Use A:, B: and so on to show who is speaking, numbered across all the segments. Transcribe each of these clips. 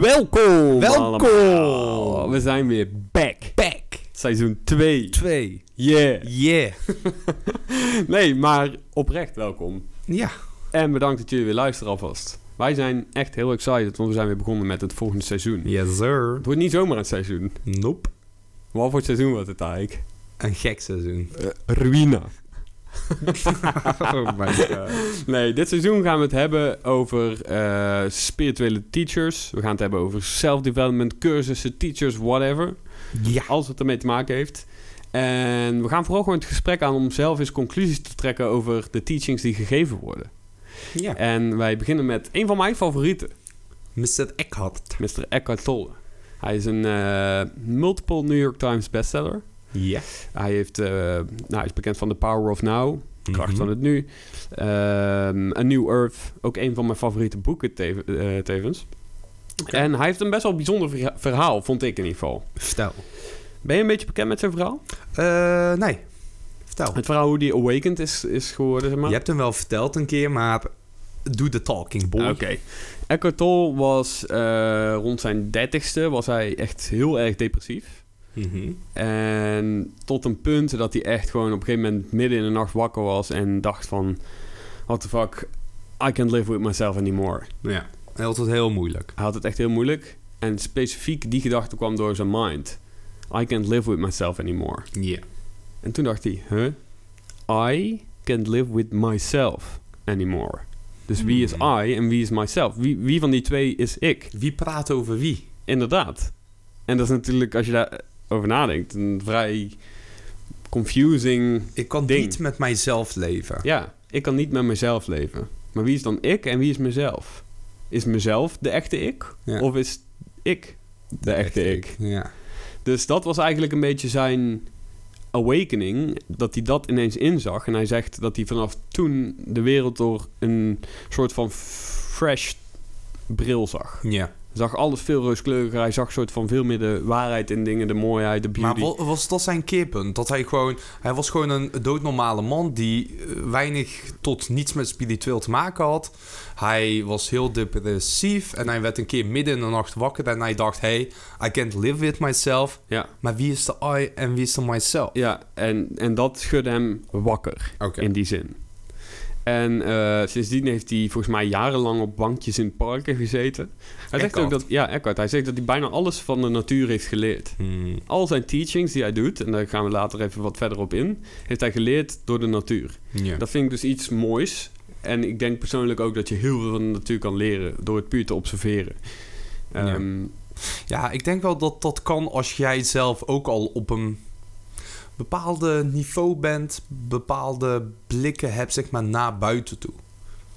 A: Welkom!
B: Welkom!
A: allemaal. We zijn weer back.
B: Pack
A: Seizoen 2.
B: 2.
A: Yeah.
B: Yeah.
A: Nee, maar oprecht welkom.
B: Ja.
A: En bedankt dat jullie weer luisteren alvast. Wij zijn echt heel excited, want we zijn weer begonnen met het volgende seizoen.
B: Yes, sir.
A: Het wordt niet zomaar een seizoen.
B: Nope.
A: Wat voor seizoen wordt het eigenlijk?
B: Een gek seizoen.
A: ruïna.
B: oh my god.
A: Nee, dit seizoen gaan we het hebben over eh, spirituele teachers. We gaan het hebben over self-development, cursussen, teachers, whatever.
B: Ja.
A: Alles wat ermee te maken heeft. En we gaan vooral gewoon het gesprek aan om zelf eens conclusies te trekken over de teachings die gegeven worden.
B: Ja.
A: En wij beginnen met een van mijn favorieten,
B: Mr. Eckhart.
A: Mr. Eckhart Tolle. Hij is een eh, multiple New York Times bestseller.
B: Ja.
A: Hij, heeft, eh, nou, hij is bekend van The Power of Now,
B: Mhm.
A: Kracht van het Nu, ehm A New Earth, ook een van mijn favoriete boeken teve- eh, tevens. En hij heeft een best wel bijzonder verha- verhaal, vond ik in ieder geval.
B: Vertel.
A: Ben je een beetje bekend met zijn verhaal?
B: Eh, nee. Vertel.
A: Het verhaal hoe die awakened is, is geworden, zeg maar.
B: Je hebt hem wel verteld een keer, maar doe de talking, boy.
A: Oké. Eckhart Tolle was eh, rond zijn dertigste was hij echt heel erg depressief.
B: Mhm.
A: En tot een punt dat hij echt gewoon op een gegeven moment midden in de nacht wakker was en dacht van... What the fuck, I can't live with myself anymore.
B: Nou Ja. Hij had het heel moeilijk.
A: Hij had het echt heel moeilijk. En specifiek die gedachte kwam door zijn mind. I can't live with myself anymore.
B: Ja.
A: En toen dacht hij, huh? I can't live with myself anymore. Dus wie is
B: Hmm.
A: I en wie is myself? Wie, wie van die twee is ik?
B: Wie praat over wie?
A: Inderdaad. En dat is natuurlijk, als je daarover nadenkt, een vrij confusing...
B: Ik kan
A: Ding.
B: niet met mijzelf leven.
A: Ja, ik kan niet met mezelf leven. Maar wie is dan ik en wie is mezelf? Is mezelf de echte ik?
B: Ja.
A: Of is ik de echte ik?
B: Ja.
A: Dus dat was eigenlijk een beetje zijn awakening. Dat hij dat ineens inzag. En hij zegt dat hij vanaf toen de wereld door een soort van fresh bril zag.
B: Ja.
A: Hij zag alles veel rooskleuriger. Hij zag soort van veel meer de waarheid in dingen, de mooiheid, de
B: Maar
A: beauty.
B: wa- was dat zijn keerpunt? Dat hij gewoon... Hij was gewoon een doodnormale man die eh, weinig tot niets met spiritueel te maken had. Hij was heel depressief en hij werd een keer midden in de nacht wakker en hij dacht... Hey, I can't live with myself.
A: Ja.
B: Maar wie is de I en wie is de myself?
A: Ja, en, en dat schudde hem wakker,
B: Oké.
A: in die zin. En eh, sindsdien heeft hij volgens mij jarenlang op bankjes in parken gezeten. Hij zegt ook
B: Eckhart.
A: dat, ja, Eckhart, hij zegt dat hij bijna alles van de natuur heeft geleerd.
B: Hmm.
A: Al zijn teachings die hij doet, en daar gaan we later even wat verder op in, heeft hij geleerd door de natuur.
B: Ja.
A: Dat vind ik dus iets moois. En ik denk persoonlijk ook dat je heel veel van de natuur kan leren door het puur te observeren. Ehm,
B: ja, ik denk wel dat dat kan als jij zelf ook al op een bepaalde niveau bent. Bepaalde blikken hebt, zeg maar, naar buiten toe.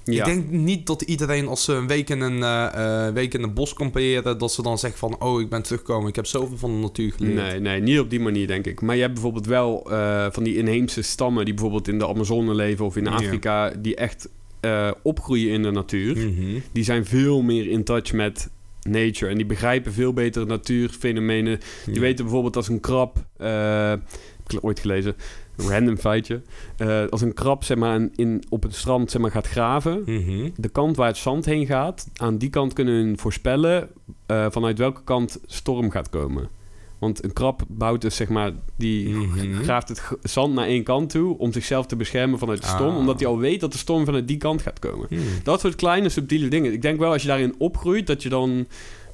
A: ja.
B: Ik denk niet dat iedereen als ze een week in een, eh, eh, week in een bos kamperen... dat ze dan zegt van... oh, ik ben teruggekomen, ik heb zoveel van de natuur geleerd.
A: Nee, nee, niet op die manier denk ik. Maar je hebt bijvoorbeeld wel eh, van die inheemse stammen die bijvoorbeeld in de Amazone leven of in
B: Ja.
A: Afrika, die echt eh, opgroeien in de natuur.
B: Mhm.
A: Die zijn veel meer in touch met nature en die begrijpen veel beter natuurfenomenen Die
B: Ja.
A: weten bijvoorbeeld als een krab... eh, heb ik ooit gelezen, een random feitje. eh, als een krab zeg maar, een- in, op het strand zeg maar, gaat graven...
B: Mhm.
A: de kant waar het zand heen gaat... aan die kant kunnen hun voorspellen... eh, vanuit welke kant storm gaat komen. Want een krab bouwt dus, zeg maar... die
B: Mhm.
A: graaft het g- zand naar één kant toe... om zichzelf te beschermen vanuit de storm...
B: Ah.
A: omdat hij al weet dat de storm vanuit die kant gaat komen.
B: Hmm.
A: Dat soort kleine, subtiele dingen. Ik denk wel, als je daarin opgroeit... dat je dan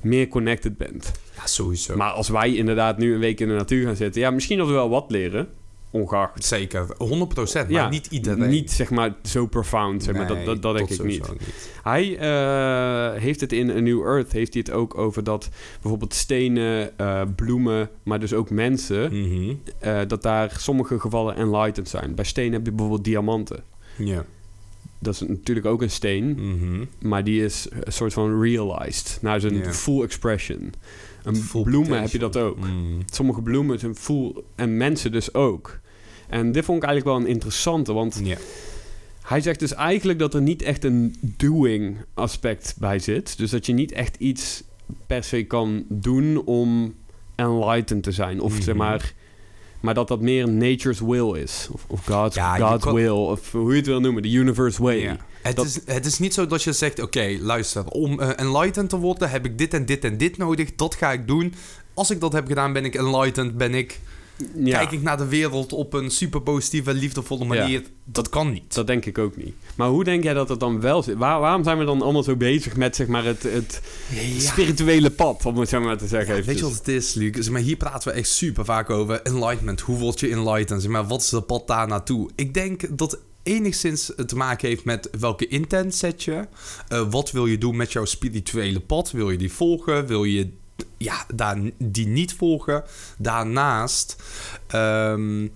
A: meer connected bent.
B: Ja, sowieso.
A: Maar als wij inderdaad nu een week in de natuur gaan zitten, ja, misschien dat we wel wat leren. Ongeacht.
B: Zeker, 100%. Maar
A: Ja,
B: niet iedereen.
A: Niet zeg maar zo profound, zeg maar. Dat,
B: Nee,
A: dat, dat denk ik
B: sowieso
A: niet. Hij eh, heeft het in A New Earth, heeft hij het ook over dat bijvoorbeeld stenen, eh, bloemen, maar dus ook mensen,
B: Mhm.
A: eh, dat daar sommige gevallen enlightened zijn. Bij stenen heb je bijvoorbeeld diamanten.
B: Ja.
A: Dat is natuurlijk ook een steen,
B: Mhm.
A: maar die is een soort van realized, naar zijn
B: Ja.
A: full expression. Een
B: Full
A: bloemen heb je
B: potential.
A: dat ook.
B: Mhm.
A: sommige bloemen zijn voel en mensen dus ook. En dit vond ik eigenlijk wel een interessante, want
B: Ja.
A: hij zegt dus eigenlijk dat er niet echt een doing aspect bij zit. Dus dat je niet echt iets per se kan doen om enlightened te zijn. Of
B: Mhm.
A: zeg maar, maar dat dat meer nature's will is. Of, of God's,
B: Ja, je
A: God's
B: kan-
A: will, of hoe je het wil noemen, de universe way.
B: Ja. Het,
A: Dat-
B: is, het is niet zo dat je zegt: Oké, luister, om eh, enlightened te worden heb ik dit en dit en dit nodig. Dat ga ik doen. Als ik dat heb gedaan, ben ik enlightened. Ben ik,
A: Ja,
B: Kijk ik naar de wereld op een super positieve, liefdevolle manier. Dat kan niet.
A: dat denk ik ook niet. Maar hoe denk jij dat het dan wel zit? Waar- waarom zijn we dan allemaal zo bezig met zeg maar, het, het spirituele pad, om het zo maar te zeggen?
B: Ja, weet je
A: eventjes?
B: wat het is, Luc? Zeg maar, hier praten we echt super vaak over enlightenment. Hoe word je enlightened? Zeg maar, wat is de pad daar naartoe? Ik denk dat enigszins het te maken heeft met welke intent zet je. Eh, wat wil je doen met jouw spirituele pad? Wil je die volgen? Wil je ja, daar, die niet volgen? Daarnaast ehm,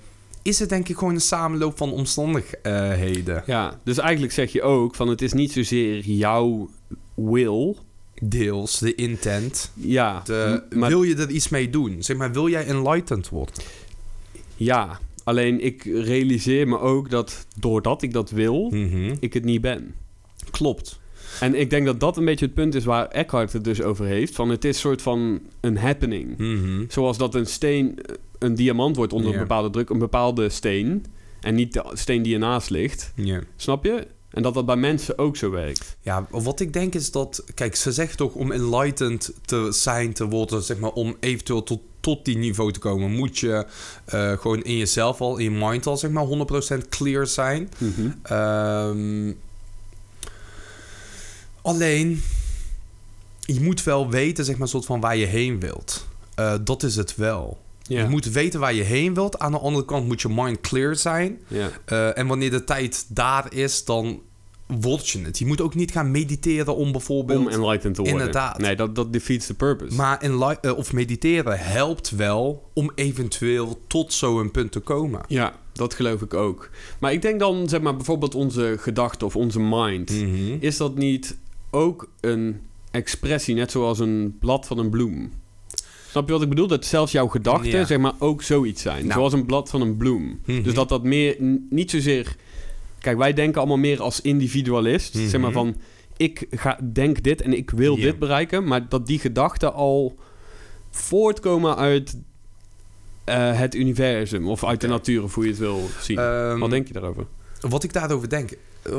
B: is het denk ik gewoon een samenloop van omstandigheden.
A: Ja, dus eigenlijk zeg je ook van het is niet zozeer jouw wil.
B: Deels de intent.
A: Ja,
B: De,
A: m- maar
B: eh, Wil je er iets mee doen? Zeg maar, wil jij enlightened worden?
A: ja. Alleen ik realiseer me ook dat doordat ik dat wil,
B: Mhm.
A: ik het niet ben.
B: Klopt.
A: En ik denk dat dat een beetje het punt is waar Eckhart het dus over heeft. Van het is soort van een happening.
B: Mhm.
A: Zoals dat een steen eh, een diamant wordt onder
B: Ja.
A: een bepaalde druk. Een bepaalde steen. En niet de steen die ernaast ligt.
B: Ja.
A: Snap je? En dat dat bij mensen ook zo werkt.
B: ja, wat ik denk is dat... Kijk, ze zegt toch om enlightened te zijn, te worden... zeg maar, om eventueel tot, tot die niveau te komen... moet je eh, gewoon in jezelf al, in je mind al... zeg maar 100% clear zijn. Ehm, alleen, je moet wel weten... zeg maar, soort van waar je heen wilt. Eh, dat is het wel.
A: Ja.
B: Je moet weten waar je heen wilt. Aan de andere kant moet je mind clear zijn...
A: ja.
B: Eh, en wanneer de tijd daar is, dan word je het. Je moet ook niet gaan mediteren om bijvoorbeeld...
A: Om enlightened te worden.
B: Inderdaad.
A: Nee, dat, dat defeats the purpose.
B: maar enli- eh, of mediteren helpt wel om eventueel tot zo'n punt te komen.
A: Ja, dat geloof ik ook. Maar ik denk dan, zeg maar, bijvoorbeeld onze gedachten of onze mind.
B: Mhm.
A: Is dat niet ook een expressie, net zoals een blad van een bloem? Snap je wat ik bedoel? Dat zelfs jouw gedachten,
B: Ja.
A: zeg maar, ook zoiets zijn.
B: Nou.
A: Zoals een blad van een bloem.
B: Mhm.
A: Dus dat dat meer, n- niet zozeer... Kijk, wij denken allemaal meer als individualist.
B: Mhm.
A: Zeg maar van, ik ga, denk dit en ik wil
B: Ja.
A: dit bereiken. Maar dat die gedachten al voortkomen uit eh, het universum. Of uit de
B: Oké.
A: natuur, of hoe je het wil zien.
B: Ehm,
A: Wat denk je daarover?
B: Wat ik daarover denk... eh,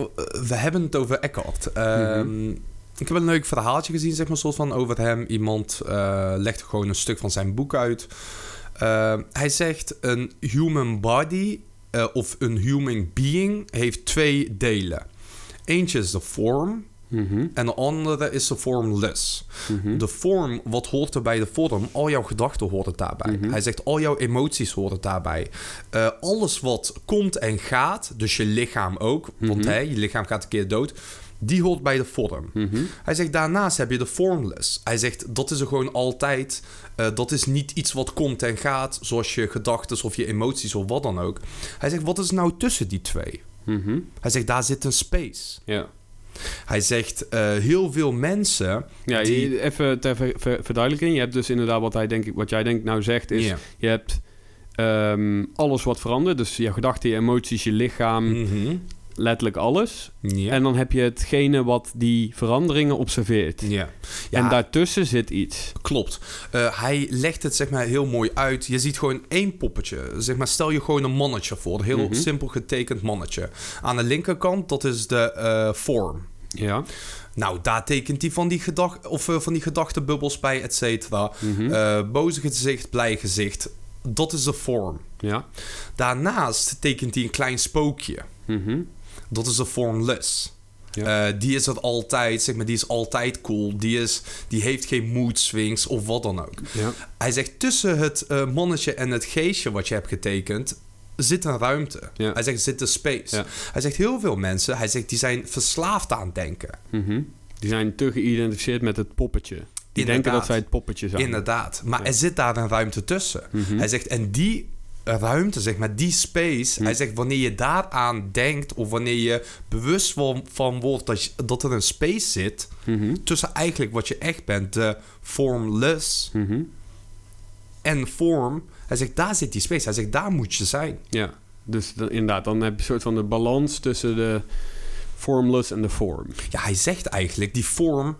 B: we hebben het over Eckhart. Ehm, Ik heb een leuk verhaaltje gezien, zeg maar, soort van over hem. Iemand eh legt gewoon een stuk van zijn boek uit. Ehm, hij zegt, een human body eh, of een human being heeft twee delen. Eentje is de vorm
A: Mhm,
B: en de andere is de formless.
A: mhm.
B: De vorm, wat hoort er bij de vorm? Al jouw gedachten horen daarbij.
A: Mhm.
B: Hij zegt, al jouw emoties horen daarbij. Eh, alles wat komt en gaat, dus je lichaam ook, want
A: Mhm.
B: hè, je lichaam gaat een keer dood, die hoort bij de vorm.
A: Mhm.
B: Hij zegt, daarnaast heb je de formless. Hij zegt, dat is er gewoon altijd. Eh, dat is niet iets wat komt en gaat, zoals je gedachten of je emoties of wat dan ook. Hij zegt, wat is nou tussen die twee?
A: Mhm.
B: Hij zegt, daar zit een space.
A: Ja.
B: Hij zegt, eh, heel veel mensen...
A: Ja,
B: Die-
A: je- even ter ver- ver- verduidelijking. Je hebt dus inderdaad wat, hij denk ik, wat jij denk ik nou zegt is...
B: Ja.
A: Je hebt ehm, alles wat verandert. Dus je gedachten, je emoties, je lichaam,
B: Mhm.
A: letterlijk alles.
B: Ja.
A: En dan heb je hetgene wat die veranderingen observeert.
B: ja.
A: En
B: Ja,
A: daartussen zit iets.
B: Klopt. Eh, hij legt het zeg maar heel mooi uit. Je ziet gewoon één poppetje. Zeg maar, stel je gewoon een mannetje voor. Een heel
A: Mhm.
B: simpel getekend mannetje. Aan de linkerkant, dat is de eh vorm.
A: Ja.
B: Nou, daar tekent hij van die, gedag of, eh, van die gedachtebubbels bij, et cetera.
A: Mhm.
B: Eh, boze gezicht, blij gezicht. Dat is de vorm.
A: ja.
B: Daarnaast tekent hij een klein spookje.
A: Mhm.
B: Dat is de formless.
A: Ja.
B: Eh, die is dat altijd, zeg maar, die is altijd cool. Die, is, die heeft geen mood swings of wat dan ook.
A: ja.
B: Hij zegt tussen het eh, mannetje en het geestje wat je hebt getekend zit een ruimte.
A: Ja.
B: Hij zegt zit een space.
A: Ja.
B: Hij zegt heel veel mensen, hij zegt die zijn verslaafd aan denken.
A: Mhm. Die zijn te geïdentificeerd met het poppetje. Die denken dat zij het poppetje zijn.
B: Inderdaad. Maar
A: Ja.
B: er zit daar een ruimte tussen.
A: Mhm.
B: Hij zegt, en die ruimte, zeg maar, die space.
A: Mhm.
B: Hij zegt, wanneer je daaraan denkt of wanneer je bewust van, van wordt dat, je- dat er een space zit
A: Mhm.
B: tussen eigenlijk wat je echt bent, de formless
A: Mhm.
B: en form. Hij zegt, daar zit die space. Hij zegt, daar moet je zijn.
A: Ja. Dus dan, inderdaad, dan heb je een soort van de balans tussen de formless en de form.
B: Ja, hij zegt eigenlijk, die vorm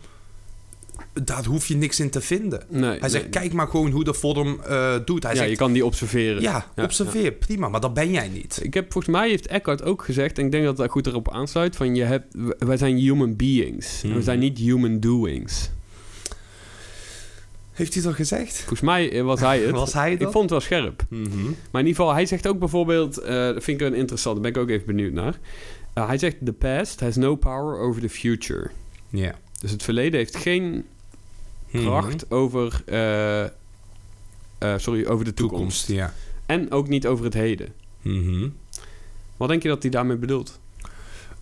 B: daar hoef je niks in te vinden.
A: Nee,
B: Hij zegt,
A: nee.
B: kijk maar gewoon hoe de Fordham eh, doet. Hij
A: ja,
B: zegt,
A: je kan die observeren.
B: ja,
A: Ja,
B: observeer, prima, maar dat ben jij niet.
A: Ik heb, volgens mij heeft Eckhart ook gezegd, en ik denk dat dat goed erop aansluit, van je hebt, w- wij zijn human beings. En we
B: Mhm.
A: zijn niet human doings.
B: Heeft hij dat gezegd?
A: Volgens mij eh, was hij het.
B: Was hij
A: ik
B: dat?
A: vond het wel scherp.
B: Mhm.
A: Maar in ieder geval, hij zegt ook bijvoorbeeld, eh, dat vind ik wel interessant, daar ben ik ook even benieuwd naar. Eh, hij zegt, the past has no power over the future.
B: Ja.
A: Dus het verleden heeft geen
B: Mhm.
A: kracht over, eh, eh, sorry, over de toekomst.
B: Toekomst, ja.
A: En ook niet over het heden.
B: Mhm.
A: Wat denk je dat hij daarmee bedoelt?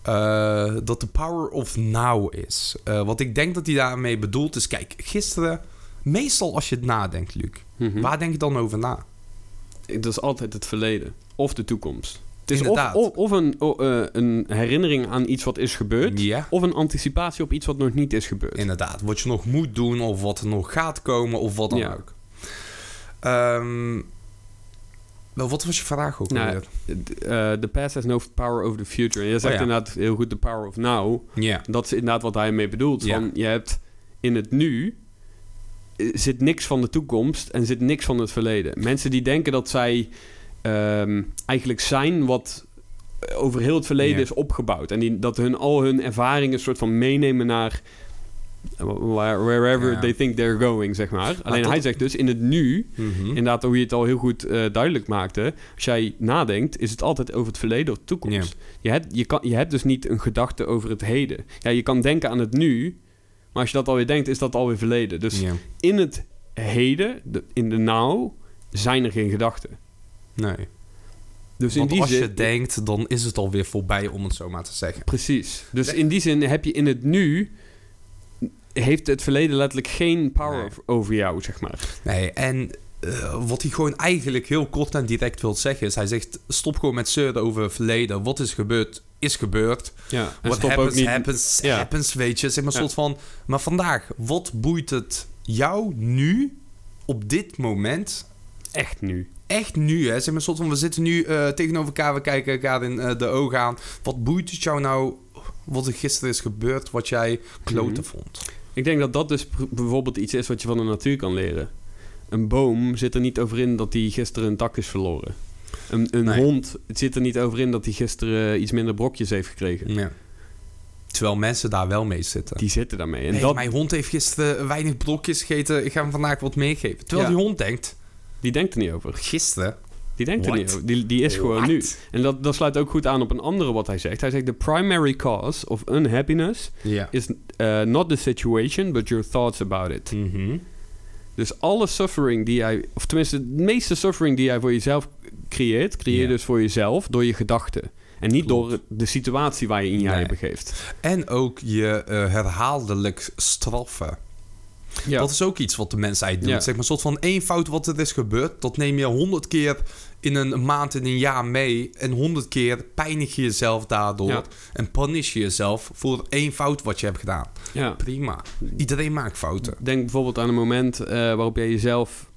B: Eh, dat de power of now is. Eh, wat ik denk dat hij daarmee bedoelt is... Kijk, gisteren... Meestal als je het nadenkt, Luc.
A: Mhm.
B: Waar denk je dan over na?
A: Dat is altijd het verleden. Of de toekomst. Het is of,
B: Inderdaad.
A: of, of een, o- eh, een herinnering aan iets wat is gebeurd.
B: Ja.
A: Of een anticipatie op iets wat nog niet is gebeurd.
B: Inderdaad. Wat je nog moet doen of wat er nog gaat komen of wat dan
A: Ja.
B: ook. Ehm, wel, wat was je vraag ook
A: Nou,
B: alweer?
A: D- eh, the past has no power over the future. En je zegt
B: Oh ja.
A: inderdaad heel goed the power of now.
B: Ja.
A: Dat is inderdaad wat hij mee bedoelt.
B: Ja.
A: Van, je hebt in het nu eh, zit niks van de toekomst en zit niks van het verleden. Mensen die denken dat zij ehm, eigenlijk zijn wat eh, over heel het verleden
B: Ja.
A: is opgebouwd. En die, dat hun al hun ervaringen soort van meenemen naar where- wherever
B: Ja.
A: they think they're going, zeg maar. Alleen
B: dat-
A: hij zegt dus in het nu
B: Mhm.
A: Inderdaad, hoe je het al heel goed eh, duidelijk maakte. Als jij nadenkt, is het altijd over het verleden of de toekomst. Je, hebt, je, kan, je hebt dus niet een gedachte over het heden. Ja, je kan denken aan het nu, maar als je dat alweer denkt, is dat alweer verleden. Dus
B: Ja.
A: in het heden, de- in de now, zijn er geen gedachten.
B: Nee.
A: Dus in
B: Want
A: die
B: als
A: zin.
B: je denkt, dan is het alweer voorbij, om het zo maar te zeggen.
A: Precies. Dus in die zin heb je in het nu. Heeft het verleden letterlijk geen power
B: Nee.
A: over- over jou, zeg maar.
B: Nee, en eh, wat hij gewoon eigenlijk heel kort en direct wil zeggen is... Hij zegt, stop gewoon met zeuren over het verleden. Wat is gebeurd, is gebeurd.
A: Ja, en
B: What
A: stop
B: happens,
A: ook niet.
B: happens,
A: Ja.
B: happens, weet je. Zeg maar een
A: Ja.
B: soort van... Maar vandaag, wat boeit het jou nu, op dit moment...
A: Echt nu.
B: Echt nu, hè? Zeg maar een soort van, we zitten nu eh, tegenover elkaar, we kijken elkaar in eh, de ogen aan. Wat boeit het jou nou, wat er gisteren is gebeurd, wat jij kloten
A: Mhm.
B: vond?
A: Ik denk dat dat dus pr- bijvoorbeeld iets is wat je van de natuur kan leren. Een boom zit er niet over in dat hij gisteren een tak is verloren. Een, een
B: Nee.
A: hond zit er niet over in dat hij gisteren iets minder brokjes heeft gekregen.
B: Ja. Terwijl mensen daar wel mee zitten.
A: Die zitten daarmee. En
B: Nee,
A: dat,
B: mijn hond heeft gisteren weinig brokjes gegeten. Ik ga hem vandaag wat meegeven. Terwijl
A: Ja.
B: die hond denkt,
A: die denkt er niet over.
B: gisteren?
A: Die denkt er
B: What?
A: niet over. Die, die is gewoon
B: What?
A: nu. En dat, dat sluit ook goed aan op een andere wat hij zegt. Hij zegt: The primary cause of unhappiness
B: Ja.
A: is eh, not the situation, but your thoughts about it.
B: Mhm.
A: Dus alle suffering die jij, of tenminste, de meeste suffering die jij voor jezelf creëert, creëer je
B: Ja.
A: dus voor jezelf door je gedachten. En niet
B: Klopt.
A: door de situatie waar je in jij
B: Nee.
A: begeeft.
B: En ook je eh, herhaaldelijk straffen.
A: Ja.
B: Dat is ook iets wat de mensheid doet.
A: Ja.
B: Zeg maar een soort van één fout wat er is gebeurd. Dat neem je honderd keer in een maand, in een jaar mee. En honderd keer pijnig je jezelf daardoor.
A: Ja.
B: En punish je jezelf voor één fout wat je hebt gedaan.
A: ja.
B: Prima. Iedereen maakt fouten.
A: Denk bijvoorbeeld aan een moment eh, waarop jij jezelf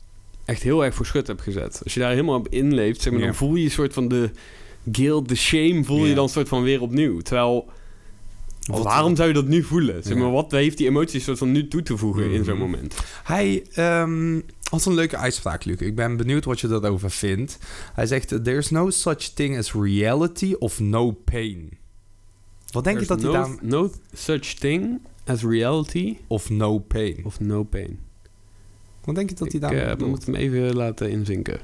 A: echt heel erg voor schut hebt gezet. Als je daar helemaal op inleeft, zeg maar,
B: Ja.
A: dan voel je een soort van de guilt, de shame, voel je
B: Ja.
A: dan een soort van weer opnieuw. Terwijl,
B: Wat-
A: waarom zou je dat nu voelen? Zeg
B: Ja.
A: maar, wat heeft die emotie soort van nu toe te voegen in zo'n
B: Mhm.
A: moment?
B: Hij ehm, had een leuke uitspraak, Luc. Ik ben benieuwd wat je daarover vindt. Hij zegt: There's no such thing as reality of no pain. Wat denk je
A: There's
B: dat hij
A: no,
B: daar.
A: no such thing as reality
B: Of no pain. ehm,
A: of no pain.
B: Wat denk je dat
A: ik
B: hij daar.
A: eh, moet hem even laten inzinken.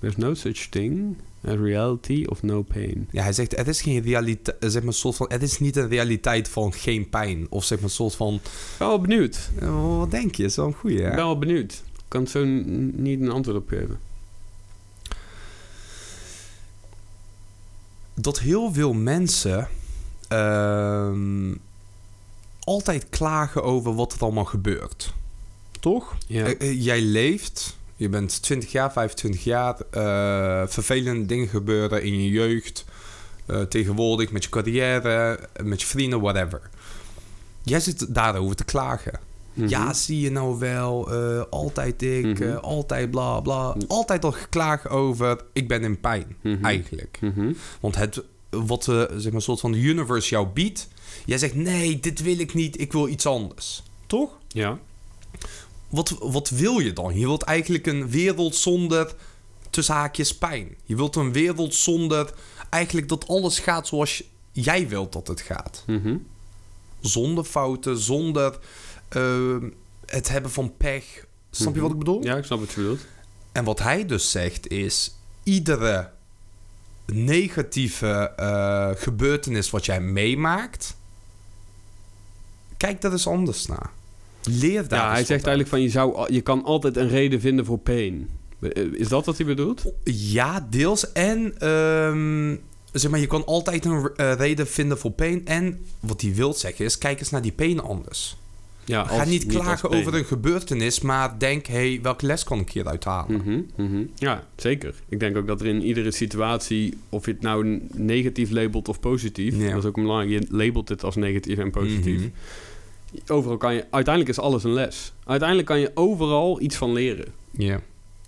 A: There's no such thing as reality of no pain.
B: Ja, hij zegt: Het is geen realiteit. Zeg maar, soort van. Het is niet een realiteit van geen pijn. Of zeg maar, een soort van.
A: Ik ben wel benieuwd.
B: eh, wat denk je? Is wel een goeie,
A: Ik
B: hè?
A: ben wel benieuwd. Ik kan het zo n- niet een antwoord op geven.
B: dat heel veel mensen ehm, altijd klagen over wat er allemaal gebeurt. Toch?
A: Ja.
B: Eh, eh, jij leeft, je bent 20 jaar, 25 jaar, eh, vervelende dingen gebeuren in je jeugd, eh, tegenwoordig met je carrière, met je vrienden, whatever. Jij zit daarover te klagen.
A: Mhm.
B: Ja, zie je nou wel, eh, altijd ik,
A: Mhm.
B: eh, altijd bla bla.
A: Mhm.
B: Altijd al geklaagd over, ik ben in pijn,
A: Mhm.
B: eigenlijk.
A: Mhm.
B: Want het, wat eh, zeg maar, soort van de universe jou biedt. Jij zegt, nee, dit wil ik niet, ik wil iets anders. Toch?
A: Ja.
B: Wat, wat wil je dan? Je wilt eigenlijk een wereld zonder tussen haakjes pijn. Je wilt een wereld zonder eigenlijk dat alles gaat zoals jij wilt dat het gaat.
A: Mhm.
B: Zonder fouten, zonder eh, het hebben van pech. Snap je wat ik bedoel?
A: Mhm. Ja, ik snap wat je bedoelt.
B: En wat hij dus zegt is: iedere negatieve eh, gebeurtenis wat jij meemaakt, kijk daar eens anders naar. Leer daar.
A: ja,
B: eens
A: hij
B: wat
A: zegt
B: uit.
A: eigenlijk van je, zou, al- je kan altijd een reden vinden voor pain. Eh, Is dat wat hij bedoelt?
B: Ja, deels. En ehm, zeg maar, je kan altijd een eh, reden vinden voor pain. En wat hij wil zeggen is: kijk eens naar die pain anders.
A: Ja,
B: Ga
A: als-
B: niet
A: als
B: klagen
A: pain.
B: over een gebeurtenis, maar denk: hé, hey, welke les kan ik hieruit halen?
A: Mhm, mhm. Ja, zeker. Ik denk ook dat er in iedere situatie, of je het nou n- negatief labelt of positief,
B: Ja.
A: dat is ook belangrijk. Je labelt het als negatief en positief.
B: Mhm.
A: Overal kan je, uiteindelijk is alles een les. Uiteindelijk kan je overal iets van leren.
B: Ja.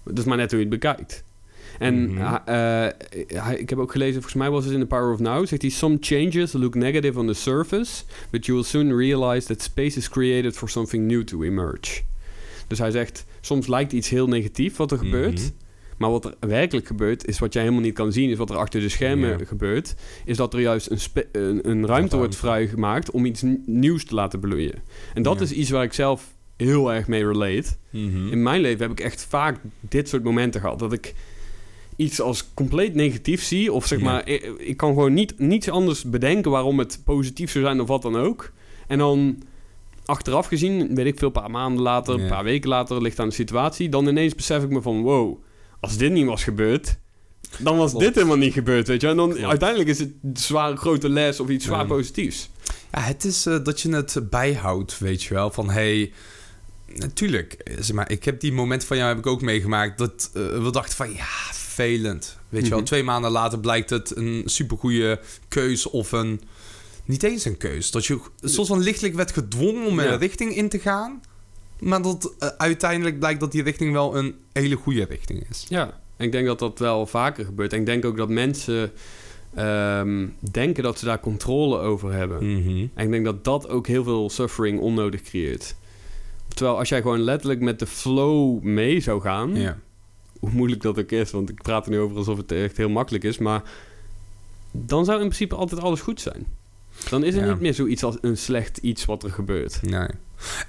A: Dat is maar net hoe je het bekijkt. En
B: Mhm.
A: ha- eh, hij- ik heb ook gelezen, volgens mij was het in The Power of Now, zegt hij: Some changes look negative on the surface, but you will soon realize that space is created for something new to emerge. Dus hij zegt: soms lijkt iets heel negatief wat er gebeurt,
B: Mhm.
A: maar wat er werkelijk gebeurt, is wat jij helemaal niet kan zien, is wat er achter de schermen
B: Ja.
A: gebeurt, is dat er juist een, spe- een, een ruimte
B: ruimte.
A: wordt vrijgemaakt om iets n- nieuws te laten bloeien. En dat
B: Ja.
A: is iets waar ik zelf heel erg mee relate.
B: Mhm.
A: In mijn leven heb ik echt vaak dit soort momenten gehad. Dat ik iets als compleet negatief zie. Of zeg
B: Ja.
A: maar, ik, ik kan gewoon niet, niets anders bedenken waarom het positief zou zijn of wat dan ook. En dan achteraf gezien, weet ik veel, een paar maanden later, een
B: Ja.
A: paar weken later, ligt aan de situatie. Dan ineens besef ik me van, wow, als dit niet was gebeurd... Dan was
B: Klopt.
A: dit helemaal niet gebeurd, weet je. En dan
B: Klopt.
A: uiteindelijk is het een zware grote les of iets zwaar
B: Ja.
A: positiefs.
B: Ja, het is eh, dat je het bijhoudt, weet je wel. Van hey, natuurlijk. eh, Zeg maar, ik heb die moment van jou heb ik ook meegemaakt. Dat eh, we dachten van ja, vervelend. Weet je wel,
A: Mhm.
B: twee maanden later blijkt het een supergoeie keus of een. Niet eens een keus. Dat je soms van lichtelijk werd gedwongen om
A: Ja.
B: een richting in te gaan. Maar dat eh, uiteindelijk blijkt dat die richting wel een hele goede richting is.
A: Ja, en ik denk dat dat wel vaker gebeurt. En ik denk ook dat mensen ehm, denken dat ze daar controle over hebben.
B: Mm.
A: En ik denk dat dat ook heel veel suffering onnodig creëert. Terwijl als jij gewoon letterlijk met de flow mee zou gaan,
B: Ja.
A: hoe moeilijk dat ook is, want ik praat er nu over alsof het echt heel makkelijk is, maar dan zou in principe altijd alles goed zijn. Dan is er
B: Ja.
A: niet meer zoiets als een slecht iets wat er gebeurt.
B: Nee.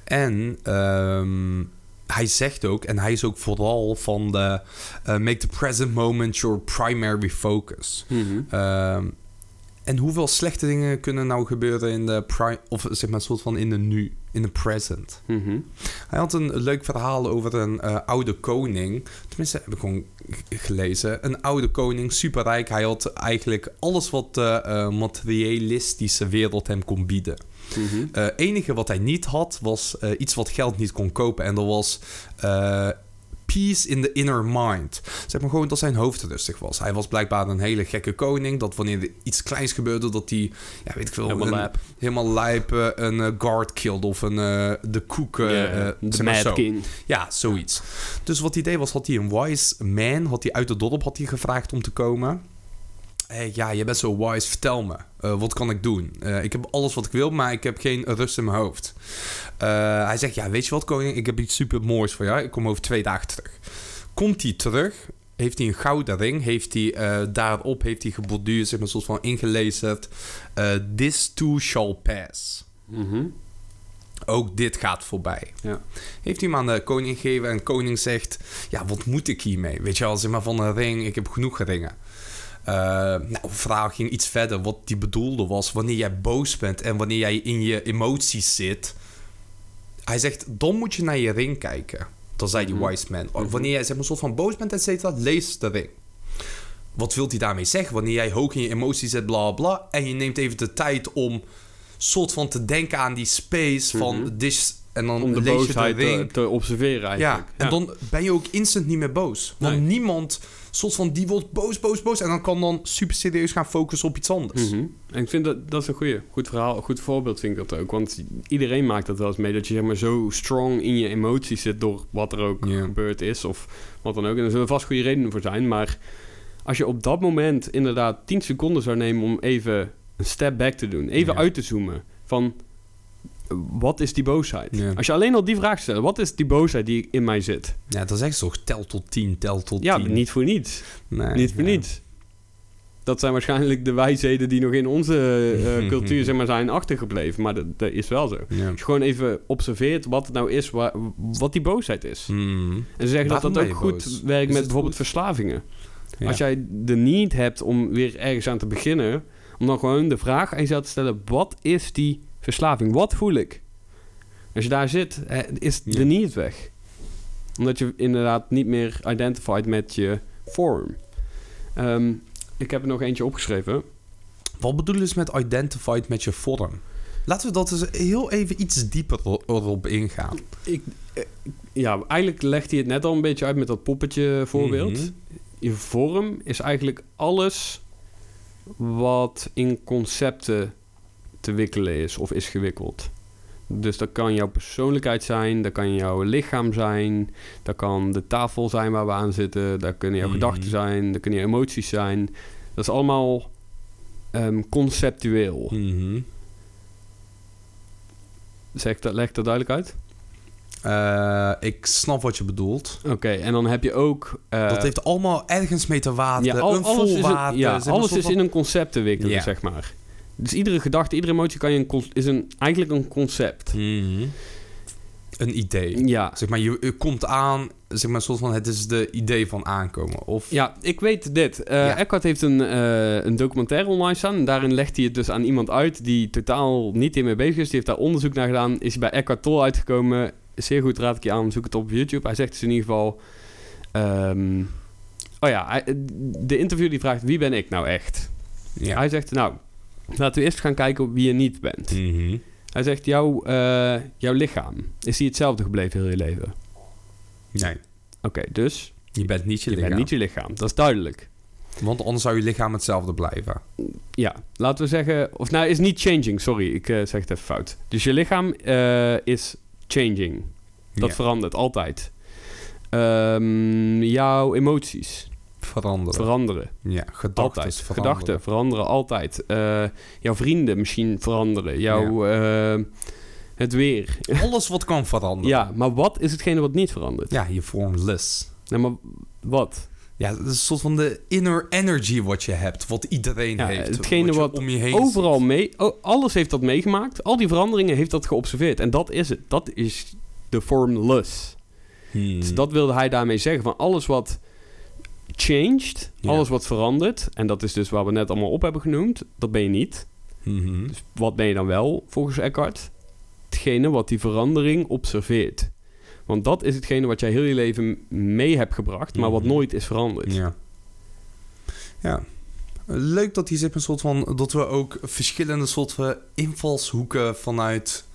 B: En ehm, hij zegt ook, en hij is ook vooral van de eh, make the present moment your primary focus. Ehm, en hoeveel slechte dingen kunnen nou gebeuren in de pri- of zeg maar soort van in de nu, in de present?
A: Mhm.
B: Hij had een leuk verhaal over een eh, oude koning. Tenminste, heb ik gewoon g- gelezen. Een oude koning, superrijk. Hij had eigenlijk alles wat de eh, materialistische wereld hem kon bieden.
A: Mhm.
B: Eh, enige wat hij niet had, was eh, iets wat geld niet kon kopen. En dat was eh, peace in the inner mind. Zeg maar gewoon dat zijn hoofd rustig was. Hij was blijkbaar een hele gekke koning. Dat wanneer er iets kleins gebeurde, dat hij, ja, weet ik veel,
A: Helemaal
B: een,
A: lijp.
B: helemaal lijp, eh, een eh, guard killed of een, eh, de koek. eh, eh,
A: Ja,
B: zeg
A: de
B: maar
A: Mad
B: zo.
A: King.
B: Ja, zoiets. Dus wat hij deed was, had hij een wise man, had hij uit de dorp had hij gevraagd om te komen. Hey, ja, je bent zo wise, vertel me. Eh, wat kan ik doen? Eh, ik heb alles wat ik wil, maar ik heb geen rust in mijn hoofd. Eh, hij zegt, ja, weet je wat koning, ik heb iets super moois voor jou. Ik kom over twee dagen terug. Komt hij terug, heeft hij een gouden ring. Heeft hij eh, daarop, heeft hij geborduurd, zeg maar, soort van ingelezerd. eh, This too shall pass.
A: Mhm.
B: Ook dit gaat voorbij.
A: Ja.
B: Heeft hij hem aan de koning gegeven en de koning zegt... Ja, wat moet ik hiermee? Weet je wel, zeg maar van een ring, ik heb genoeg geringen. Eh, nou, de verhaal ging iets verder. Wat die bedoelde was, wanneer jij boos bent en wanneer jij in je emoties zit... Hij zegt, dan moet je naar je ring kijken. Dan zei die
A: Mhm.
B: wise man. "Oh,
A: Mhm.
B: Wanneer jij zeg maar soort van boos bent, et cetera, lees de ring. Wat wil hij daarmee zeggen? Wanneer jij hoog in je emoties zit, bla bla... en je neemt even de tijd om soort van te denken aan die space van
A: Mhm.
B: dis en dan
A: Om de
B: lees
A: boosheid eh,
B: je de
A: te,
B: ring.
A: te observeren eigenlijk.
B: Ja, en dan ben je ook instant niet meer boos. Want
A: Nee.
B: niemand, soort van, die wordt boos, boos, boos. En dan kan dan super serieus gaan focussen op iets anders.
A: Mhm. En ik vind dat, dat is een goeie, goed verhaal, goed voorbeeld vind ik dat ook. Want iedereen maakt dat wel eens mee, dat je zeg maar zo strong in je emoties zit door wat er ook
B: Ja.
A: gebeurd is of wat dan ook. En er zullen vast goede redenen voor zijn, maar als je op dat moment inderdaad 10 seconden zou nemen om even een step back te doen, even
B: Ja.
A: uit te zoomen van... Oké, wat is die boosheid?
B: Ja.
A: Als je alleen al die vraag stelt, wat is die boosheid die in mij zit?
B: Ja, dat zeggen ze toch, tel tot tien, tel tot
A: Ja,
B: tien.
A: niet voor niets.
B: Nee,
A: niet voor
B: ja.
A: niets. Dat zijn waarschijnlijk de wijsheden die nog in onze eh, cultuur zeg maar, zijn achtergebleven. Maar dat, dat is wel zo.
B: Ja.
A: Als je gewoon even observeert wat het nou is, wa- wat die boosheid is.
B: Hmm.
A: En ze zeggen
B: Waarom
A: dat
B: ben
A: dat
B: je
A: ook goed
B: boos? Is
A: werkt met
B: het
A: bijvoorbeeld
B: goed?
A: verslavingen.
B: Ja.
A: Als jij de need hebt om weer ergens aan te beginnen, om dan gewoon de vraag aan jezelf te stellen: wat is die verslaving? Wat voel ik? Als je daar zit, eh, is de
B: Ja.
A: need weg. Omdat je inderdaad niet meer identified met je vorm. Ehm, ik heb er nog eentje opgeschreven.
B: Wat bedoelen ze met identified met je vorm? Laten we dat eens heel even iets dieper ro- erop ingaan.
A: Ja, eigenlijk legt hij het net al een beetje uit met dat poppetje voorbeeld.
B: Mhm.
A: je vorm is eigenlijk alles wat in concepten te wikkelen is of is gewikkeld. Dus dat kan jouw persoonlijkheid zijn, dat kan jouw lichaam zijn, dat kan de tafel zijn waar we aan zitten, dat kunnen jouw
B: Mhm.
A: gedachten zijn, dat kunnen je emoties zijn. Dat is allemaal ehm, conceptueel.
B: Mhm.
A: Zeg, ik dat, leg ik dat duidelijk uit?
B: Eh, ik snap wat je bedoelt.
A: Oké, en dan heb je ook... eh,
B: dat heeft allemaal ergens mee te water,
A: Ja, al-
B: een
A: alles, is,
B: voorwaarde.
A: een, ja,
B: zeg maar,
A: alles
B: soort
A: is
B: van-
A: in een concept te wikkelen,
B: Ja.
A: zeg maar. Dus iedere gedachte, iedere emotie kan je een con- is een, eigenlijk een concept.
B: Mhm. Een idee.
A: Ja.
B: Zeg maar, je, je komt aan, zeg maar, een soort van het is de idee van aankomen. Of
A: ja, ik weet dit. Eh
B: Ja.
A: Eckhart heeft een, eh, een documentaire online staan. En daarin legt hij het dus aan iemand uit die totaal niet hiermee bezig is. Die heeft daar onderzoek naar gedaan. Is bij Eckhart Tolle uitgekomen. Zeer goed, raad ik je aan. Zoek het op YouTube. Hij zegt dus in ieder geval... ehm, oh ja, hij- de interview die vraagt... Wie ben ik nou echt?
B: ja.
A: Hij zegt, nou... Laten we eerst gaan kijken wie je niet bent.
B: Mhm.
A: Hij zegt, jouw, eh, jouw lichaam, is die hetzelfde gebleven heel je leven? Oké,
B: Nee,
A: dus
B: je bent niet je,
A: je
B: lichaam.
A: bent niet je lichaam, dat is duidelijk.
B: Want anders zou je lichaam hetzelfde blijven.
A: Ja, laten we zeggen, of nou is niet changing, sorry, ik eh, zeg het even fout. Dus je lichaam eh, is changing, dat
B: Ja.
A: verandert altijd. Ehm, jouw emoties
B: veranderen.
A: veranderen
B: ja, gedachten
A: altijd.
B: veranderen.
A: Gedachten veranderen altijd. Eh, jouw vrienden misschien veranderen, jouw, eh, het weer.
B: Alles wat kan veranderen.
A: Ja, maar wat is hetgene wat niet verandert?
B: Ja, je formless.
A: Nou, maar wat?
B: Ja, dat is een soort van de inner energy wat je hebt, wat iedereen
A: Ja,
B: heeft.
A: hetgene
B: je
A: wat
B: om je heen
A: overal
B: ziet.
A: mee. o- alles heeft dat meegemaakt. Al die veranderingen heeft dat geobserveerd. En dat is het. Dat is de formless.
B: Hmm.
A: Dus dat wilde hij daarmee zeggen. Van alles wat changed,
B: Ja.
A: alles wat verandert. En dat is dus waar we net allemaal op hebben genoemd. Dat ben je niet.
B: Mhm.
A: Dus wat ben je dan wel, volgens Eckhart? Hetgene wat die verandering observeert. Want dat is hetgene wat jij heel je leven mee hebt gebracht, maar wat
B: Mhm.
A: nooit is veranderd.
B: Ja. Ja. Leuk dat hier zit een soort van dat we ook verschillende soorten invalshoeken vanuit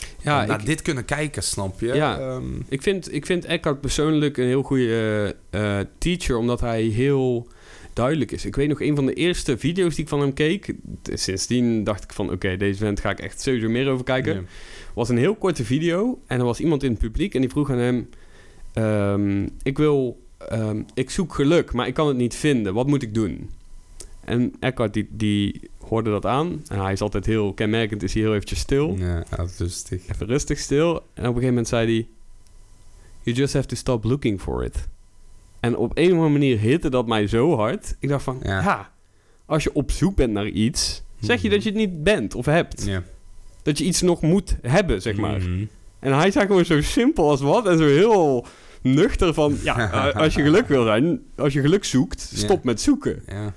B: eh,
A: Ja,
B: naar
A: ik-
B: dit kunnen kijken, snap je?
A: Ja.
B: Ehm,
A: Ik vind, ik vind Eckhart persoonlijk een heel goede eh, eh, teacher, omdat hij heel duidelijk is. Ik weet nog, een van de eerste video's die ik van hem keek, t- sindsdien dacht ik van, oké, deze vent ga ik echt sowieso meer over kijken,
B: ja.
A: was een heel korte video en er was iemand in het publiek en die vroeg aan hem, ehm, ik wil, ehm, ik zoek geluk, maar ik kan het niet vinden, wat moet ik doen? En Eckhart die, die hoorde dat aan en hij is altijd heel kenmerkend, is hij heel eventjes stil.
B: Ja, ja, rustig.
A: Even rustig stil. En op een gegeven moment zei hij... You just have to stop looking for it. En op een of andere manier hitte dat mij zo hard. Ik dacht van, ja.
B: Ja.
A: als je op zoek bent naar iets... Zeg je
B: Mhm.
A: dat je het niet bent of hebt.
B: Ja.
A: Dat je iets nog moet hebben, zeg maar.
B: Mhm.
A: En hij zei gewoon zo simpel als wat. En zo heel nuchter van... Ja, eh, als je geluk wil zijn... Als je geluk zoekt, stop
B: Ja.
A: met zoeken.
B: Ja.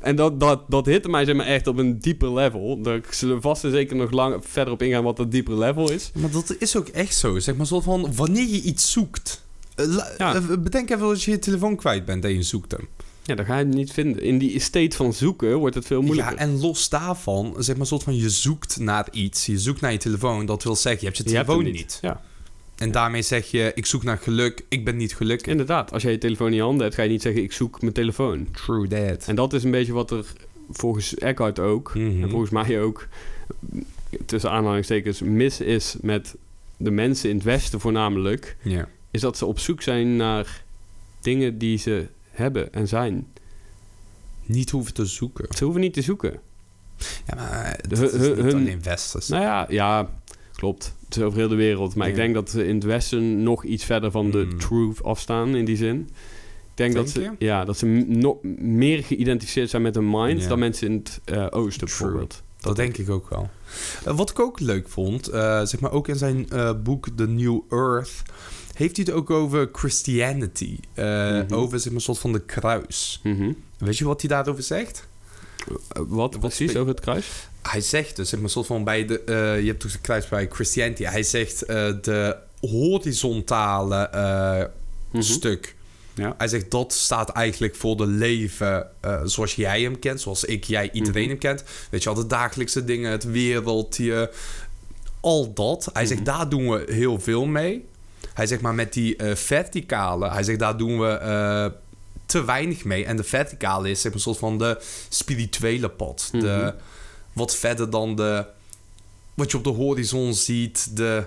A: En dat, dat, dat hitte mij zeg maar, echt op een dieper level. Daar zullen we vast en zeker nog lang verder op ingaan wat dat dieper level is.
B: Maar dat is ook echt zo. Zeg maar, soort van wanneer je iets zoekt. Eh, la-
A: Ja.
B: eh, Bedenk even als je je telefoon kwijt bent en je zoekt hem.
A: Ja, dan ga je het niet vinden. In die state van zoeken wordt het veel moeilijker.
B: Ja, en los daarvan, zeg maar, soort van je zoekt naar iets. Je zoekt naar je telefoon. Dat wil zeggen, je hebt je
A: Je hebt
B: telefoon
A: hem
B: niet.
A: Ja,
B: En daarmee zeg je, ik zoek naar geluk. Ik ben niet gelukkig.
A: inderdaad. Als jij je telefoon in je handen hebt, ga je niet zeggen... ik zoek mijn telefoon.
B: True that.
A: En dat is een beetje wat er volgens Eckhart ook...
B: Mhm.
A: en volgens mij ook... tussen aanhalingstekens mis is met de mensen in het Westen voornamelijk...
B: Ja.
A: is dat ze op zoek zijn naar dingen die ze hebben en zijn.
B: Niet hoeven te zoeken.
A: Ze hoeven niet te zoeken.
B: Ja, maar
A: De-
B: dat is
A: hun-
B: niet
A: hun-
B: alleen westers.
A: Nou ja, ja Klopt. Het is over heel de wereld. Maar ik
B: Ja.
A: denk dat ze in het Westen nog iets verder van de
B: Mm.
A: truth afstaan in die zin. Ik denk, dat
B: Denk
A: ze, ja, dat ze m- nog meer geïdentificeerd zijn met hun mind
B: Ja.
A: dan mensen in het eh, Oosten
B: True.
A: bijvoorbeeld.
B: Dat denk ik ook wel. Eh, wat ik ook leuk vond, eh, zeg maar ook in zijn eh, boek The New Earth, heeft hij het ook over Christianity. Eh,
A: Mhm.
B: Over zeg maar, een soort van de kruis.
A: Mhm.
B: Weet je wat hij daarover zegt?
A: Eh, Wat precies
B: spe-
A: over het kruis?
B: Hij zegt dus, zeg maar, een soort van bij de. eh, je hebt toch de kruis bij Christianity. Hij zegt eh, de horizontale eh,
A: Mhm.
B: stuk.
A: Ja.
B: Hij zegt dat staat eigenlijk voor de leven eh, zoals jij hem kent, zoals ik, jij, iedereen
A: Mhm.
B: hem kent. Weet je al, de dagelijkse dingen, het wereldje, al dat. Hij
A: Mhm.
B: zegt daar doen we heel veel mee. Hij zegt maar met die eh, verticale, hij zegt daar doen we eh, te weinig mee. En de verticale is zeg maar een soort van de spirituele pad.
A: Mhm.
B: de, wat verder dan de, wat je op de horizon ziet, de...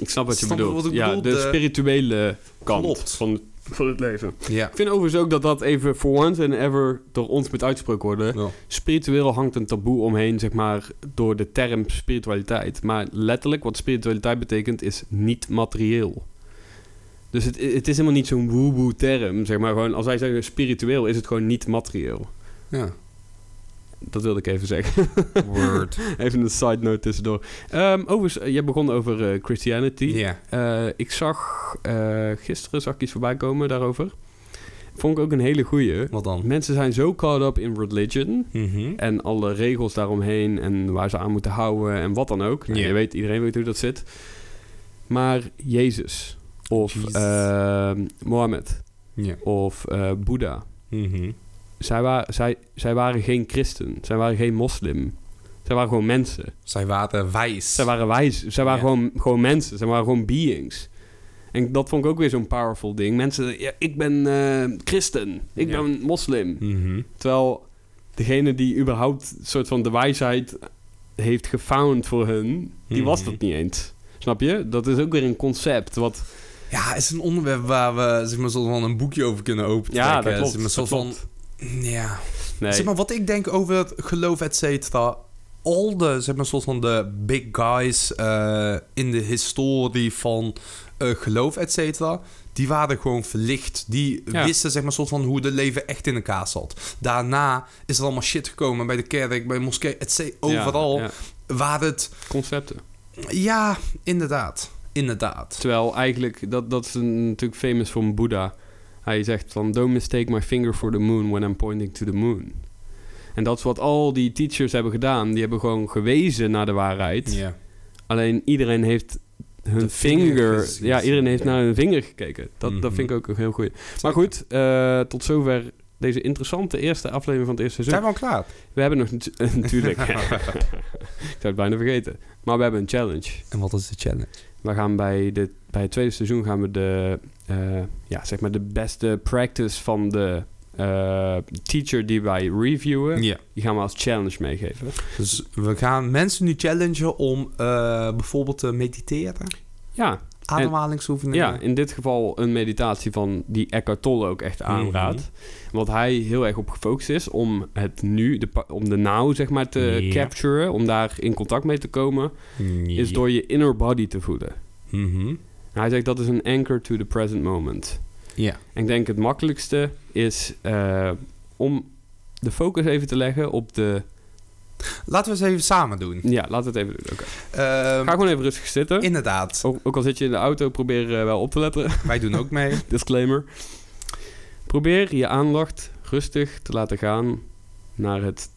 A: Ik snap wat je
B: Snap je
A: bedoelt.
B: wat ik
A: ja,
B: bedoel?
A: de
B: De-
A: spirituele kant
B: Klopt.
A: Van, van het leven.
B: Ja.
A: Ik vind overigens ook dat dat even for once and ever door ons moet uitgesproken worden. Spiritueel hangt een taboe omheen, zeg maar, door de term spiritualiteit. Maar letterlijk, wat spiritualiteit betekent, is niet materieel. Dus het, het is helemaal niet zo'n woe-woe term, zeg maar. Gewoon, als wij zeggen spiritueel, is het gewoon niet materieel.
B: ja.
A: Dat wilde ik even zeggen.
B: Word.
A: even een side note tussendoor. Ehm overigens, eh, jij begon over eh, Christianity.
B: Ja.
A: Eh, ik zag, eh, gisteren zag ik iets voorbij komen daarover. Vond ik ook een hele goeie.
B: Wat dan?
A: Mensen zijn zo caught up in religion...
B: Mhm.
A: En alle regels daaromheen en waar ze aan moeten houden en wat dan ook. Nou,
B: Ja.
A: je weet, iedereen weet hoe dat zit. Maar Jezus of
B: Jezus.
A: ehm, Mohammed
B: Ja.
A: of eh, Boeddha,
B: Mhm.
A: zij, wa- zij, zij waren geen christen, zij waren geen moslim. Zij waren gewoon mensen.
B: Zij waren wijs.
A: Zij waren wijs, zij waren
B: Ja.
A: gewoon, gewoon mensen, zij waren gewoon beings. En dat vond ik ook weer zo'n powerful ding. Mensen, ja, ik ben eh, christen, ik
B: Ja.
A: ben moslim.
B: Mhm.
A: Terwijl degene die überhaupt een soort van de wijsheid heeft gefound voor hun, die
B: Mhm.
A: was dat niet eens. Snap je? Dat is ook weer een concept. Wat,
B: Ja, is een onderwerp waar we zeg maar, soort van een boekje over kunnen openen.
A: ja, dat klopt.
B: Zeg maar,
A: dat
B: soort van,
A: klopt.
B: ja.
A: Nee.
B: Zeg maar, wat ik denk over het geloof, et cetera. Al de, zeg maar, soort van de big guys eh, in de historie van eh, geloof, et cetera. Die waren gewoon verlicht. Die
A: Ja.
B: wisten, zeg maar, soort van hoe de leven echt in elkaar zat. Daarna is er allemaal shit gekomen bij de kerk, bij de moskee, et cetera.
A: Ja,
B: Overal
A: ja.
B: waar het...
A: Concepten.
B: Ja, inderdaad. Inderdaad.
A: Terwijl eigenlijk, dat, dat is een- natuurlijk famous van Boeddha. Hij zegt van, don't mistake my finger for the moon when I'm pointing to the moon. En dat is wat al die teachers hebben gedaan. Die hebben gewoon gewezen naar de waarheid.
B: Ja.
A: Alleen iedereen heeft hun
B: De
A: vinger.
B: vinger gezien.
A: ja, iedereen heeft naar hun vinger gekeken. Dat, dat
B: Mhm.
A: vind ik ook een heel goed. Maar goed, eh, tot zover deze interessante eerste aflevering van het eerste
B: Zijn
A: seizoen.
B: we al klaar?
A: We hebben nog natu- natuurlijk. ik zou het bijna vergeten. Maar we hebben een challenge.
B: En wat is de challenge?
A: We gaan bij, de, bij het tweede seizoen gaan we de, eh, ja, zeg maar de beste practice van de eh, teacher die wij reviewen.
B: Ja.
A: Die gaan we als challenge meegeven.
B: Dus we gaan mensen nu challengen om eh, bijvoorbeeld te mediteren.
A: Ja,
B: Ademhalingsoefeningen.
A: Ja, in dit geval een meditatie van die Eckhart Tolle ook echt aanraadt. Want hij heel erg op gefocust is om het nu, de, pa- om de now zeg maar te
B: Ja.
A: capturen, om daar in contact mee te komen, is door je inner body te voelen.
B: Mhm.
A: Hij zegt dat is een anchor to the present moment.
B: Ja.
A: En ik denk het makkelijkste is eh, om de focus even te leggen op de...
B: Laten we eens even samen doen.
A: Ja, laat het even doen. Oké.
B: Ehm,
A: Ga gewoon even rustig zitten.
B: inderdaad.
A: Ook, ook al zit je in de auto, probeer eh, wel op te letten.
B: Wij doen ook mee.
A: Disclaimer. Probeer je aandacht rustig te laten gaan naar het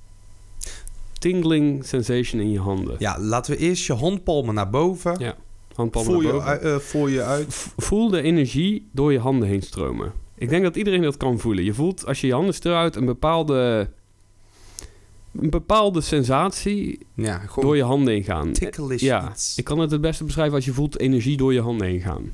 A: tingling sensation in je handen.
B: Ja, laten we eerst je handpalmen naar boven.
A: Ja, Handpalmen
B: Voel
A: naar
B: je,
A: boven.
B: ui- eh, voel je uit.
A: V- Voel de energie door je handen heen stromen. Ik denk dat iedereen dat kan voelen. Je voelt als je je handen straalt een bepaalde, een bepaalde sensatie
B: Ja,
A: door
B: gewoon
A: je handen heen gaan.
B: ticklish
A: Ja,
B: iets.
A: Ik kan het het beste beschrijven als je voelt energie door je handen heen gaan.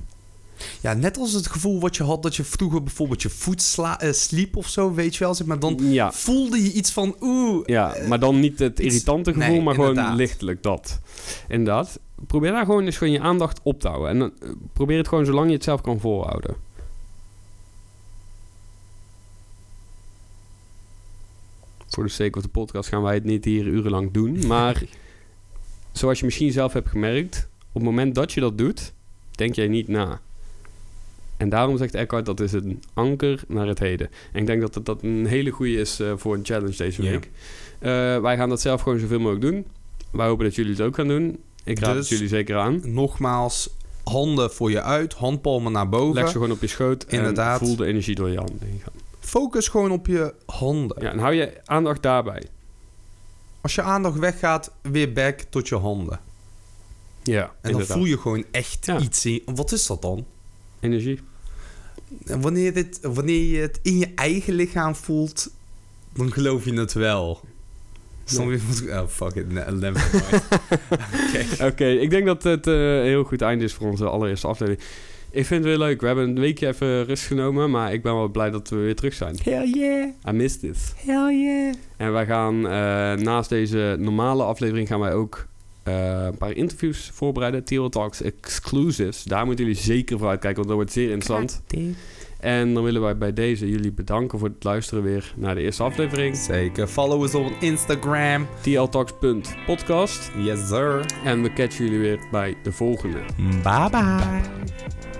B: Ja, net als het gevoel wat je had dat je vroeger bijvoorbeeld je voet sla- eh, sliep of zo, weet je wel. Zeg maar dan
A: ja,
B: voelde je iets van oeh.
A: Ja, maar dan niet het
B: eh, iets-
A: irritante gevoel,
B: nee,
A: maar gewoon
B: inderdaad.
A: lichtelijk dat. Inderdaad. Probeer daar gewoon eens gewoon je aandacht op te houden. En dan, eh, probeer het gewoon zolang je het zelf kan volhouden. Voor de sake of de podcast gaan wij het niet hier urenlang doen. Maar zoals je misschien zelf hebt gemerkt, op het moment dat je dat doet, denk jij niet na. En daarom zegt Eckhart dat is een anker naar het heden. En ik denk dat dat, dat een hele goede is eh, voor een challenge deze
B: Ja.
A: week. Eh, wij gaan dat zelf gewoon zoveel mogelijk doen. Wij hopen dat jullie het ook gaan doen. Ik raad
B: Dus-
A: het jullie zeker aan.
B: Nogmaals, handen voor je uit, handpalmen naar boven.
A: Leg ze gewoon op je schoot
B: Inderdaad.
A: en voel de energie door je handen heen gaan.
B: Focus gewoon op je handen.
A: Ja, en hou je aandacht daarbij.
B: Als je aandacht weggaat, weer back tot je handen.
A: Ja,
B: En dan voel je gewoon echt
A: Ja.
B: iets in. Wat is dat dan?
A: Energie.
B: En wanneer, dit, wanneer je het in je eigen lichaam voelt, dan geloof je het wel. Dus dan weer van, oh fuck it, ne- never mind.
A: Oké, ik denk dat het eh, een heel goed einde is voor onze allereerste aflevering. Ik vind het weer leuk. We hebben een weekje even rust genomen, maar ik ben wel blij dat we weer terug zijn.
B: Hell yeah,
A: I missed it.
B: hell yeah.
A: En wij gaan eh, naast deze normale aflevering gaan wij ook eh, een paar interviews voorbereiden. Tiro Talks Exclusives. Daar moeten jullie zeker voor uitkijken, want dat wordt zeer interessant. En dan willen wij bij deze jullie bedanken voor het luisteren weer naar de eerste aflevering.
B: Zeker, follow us op Instagram.
A: tltalks.podcast.
B: Yes sir.
A: En we catchen jullie weer bij de volgende.
B: Bye bye.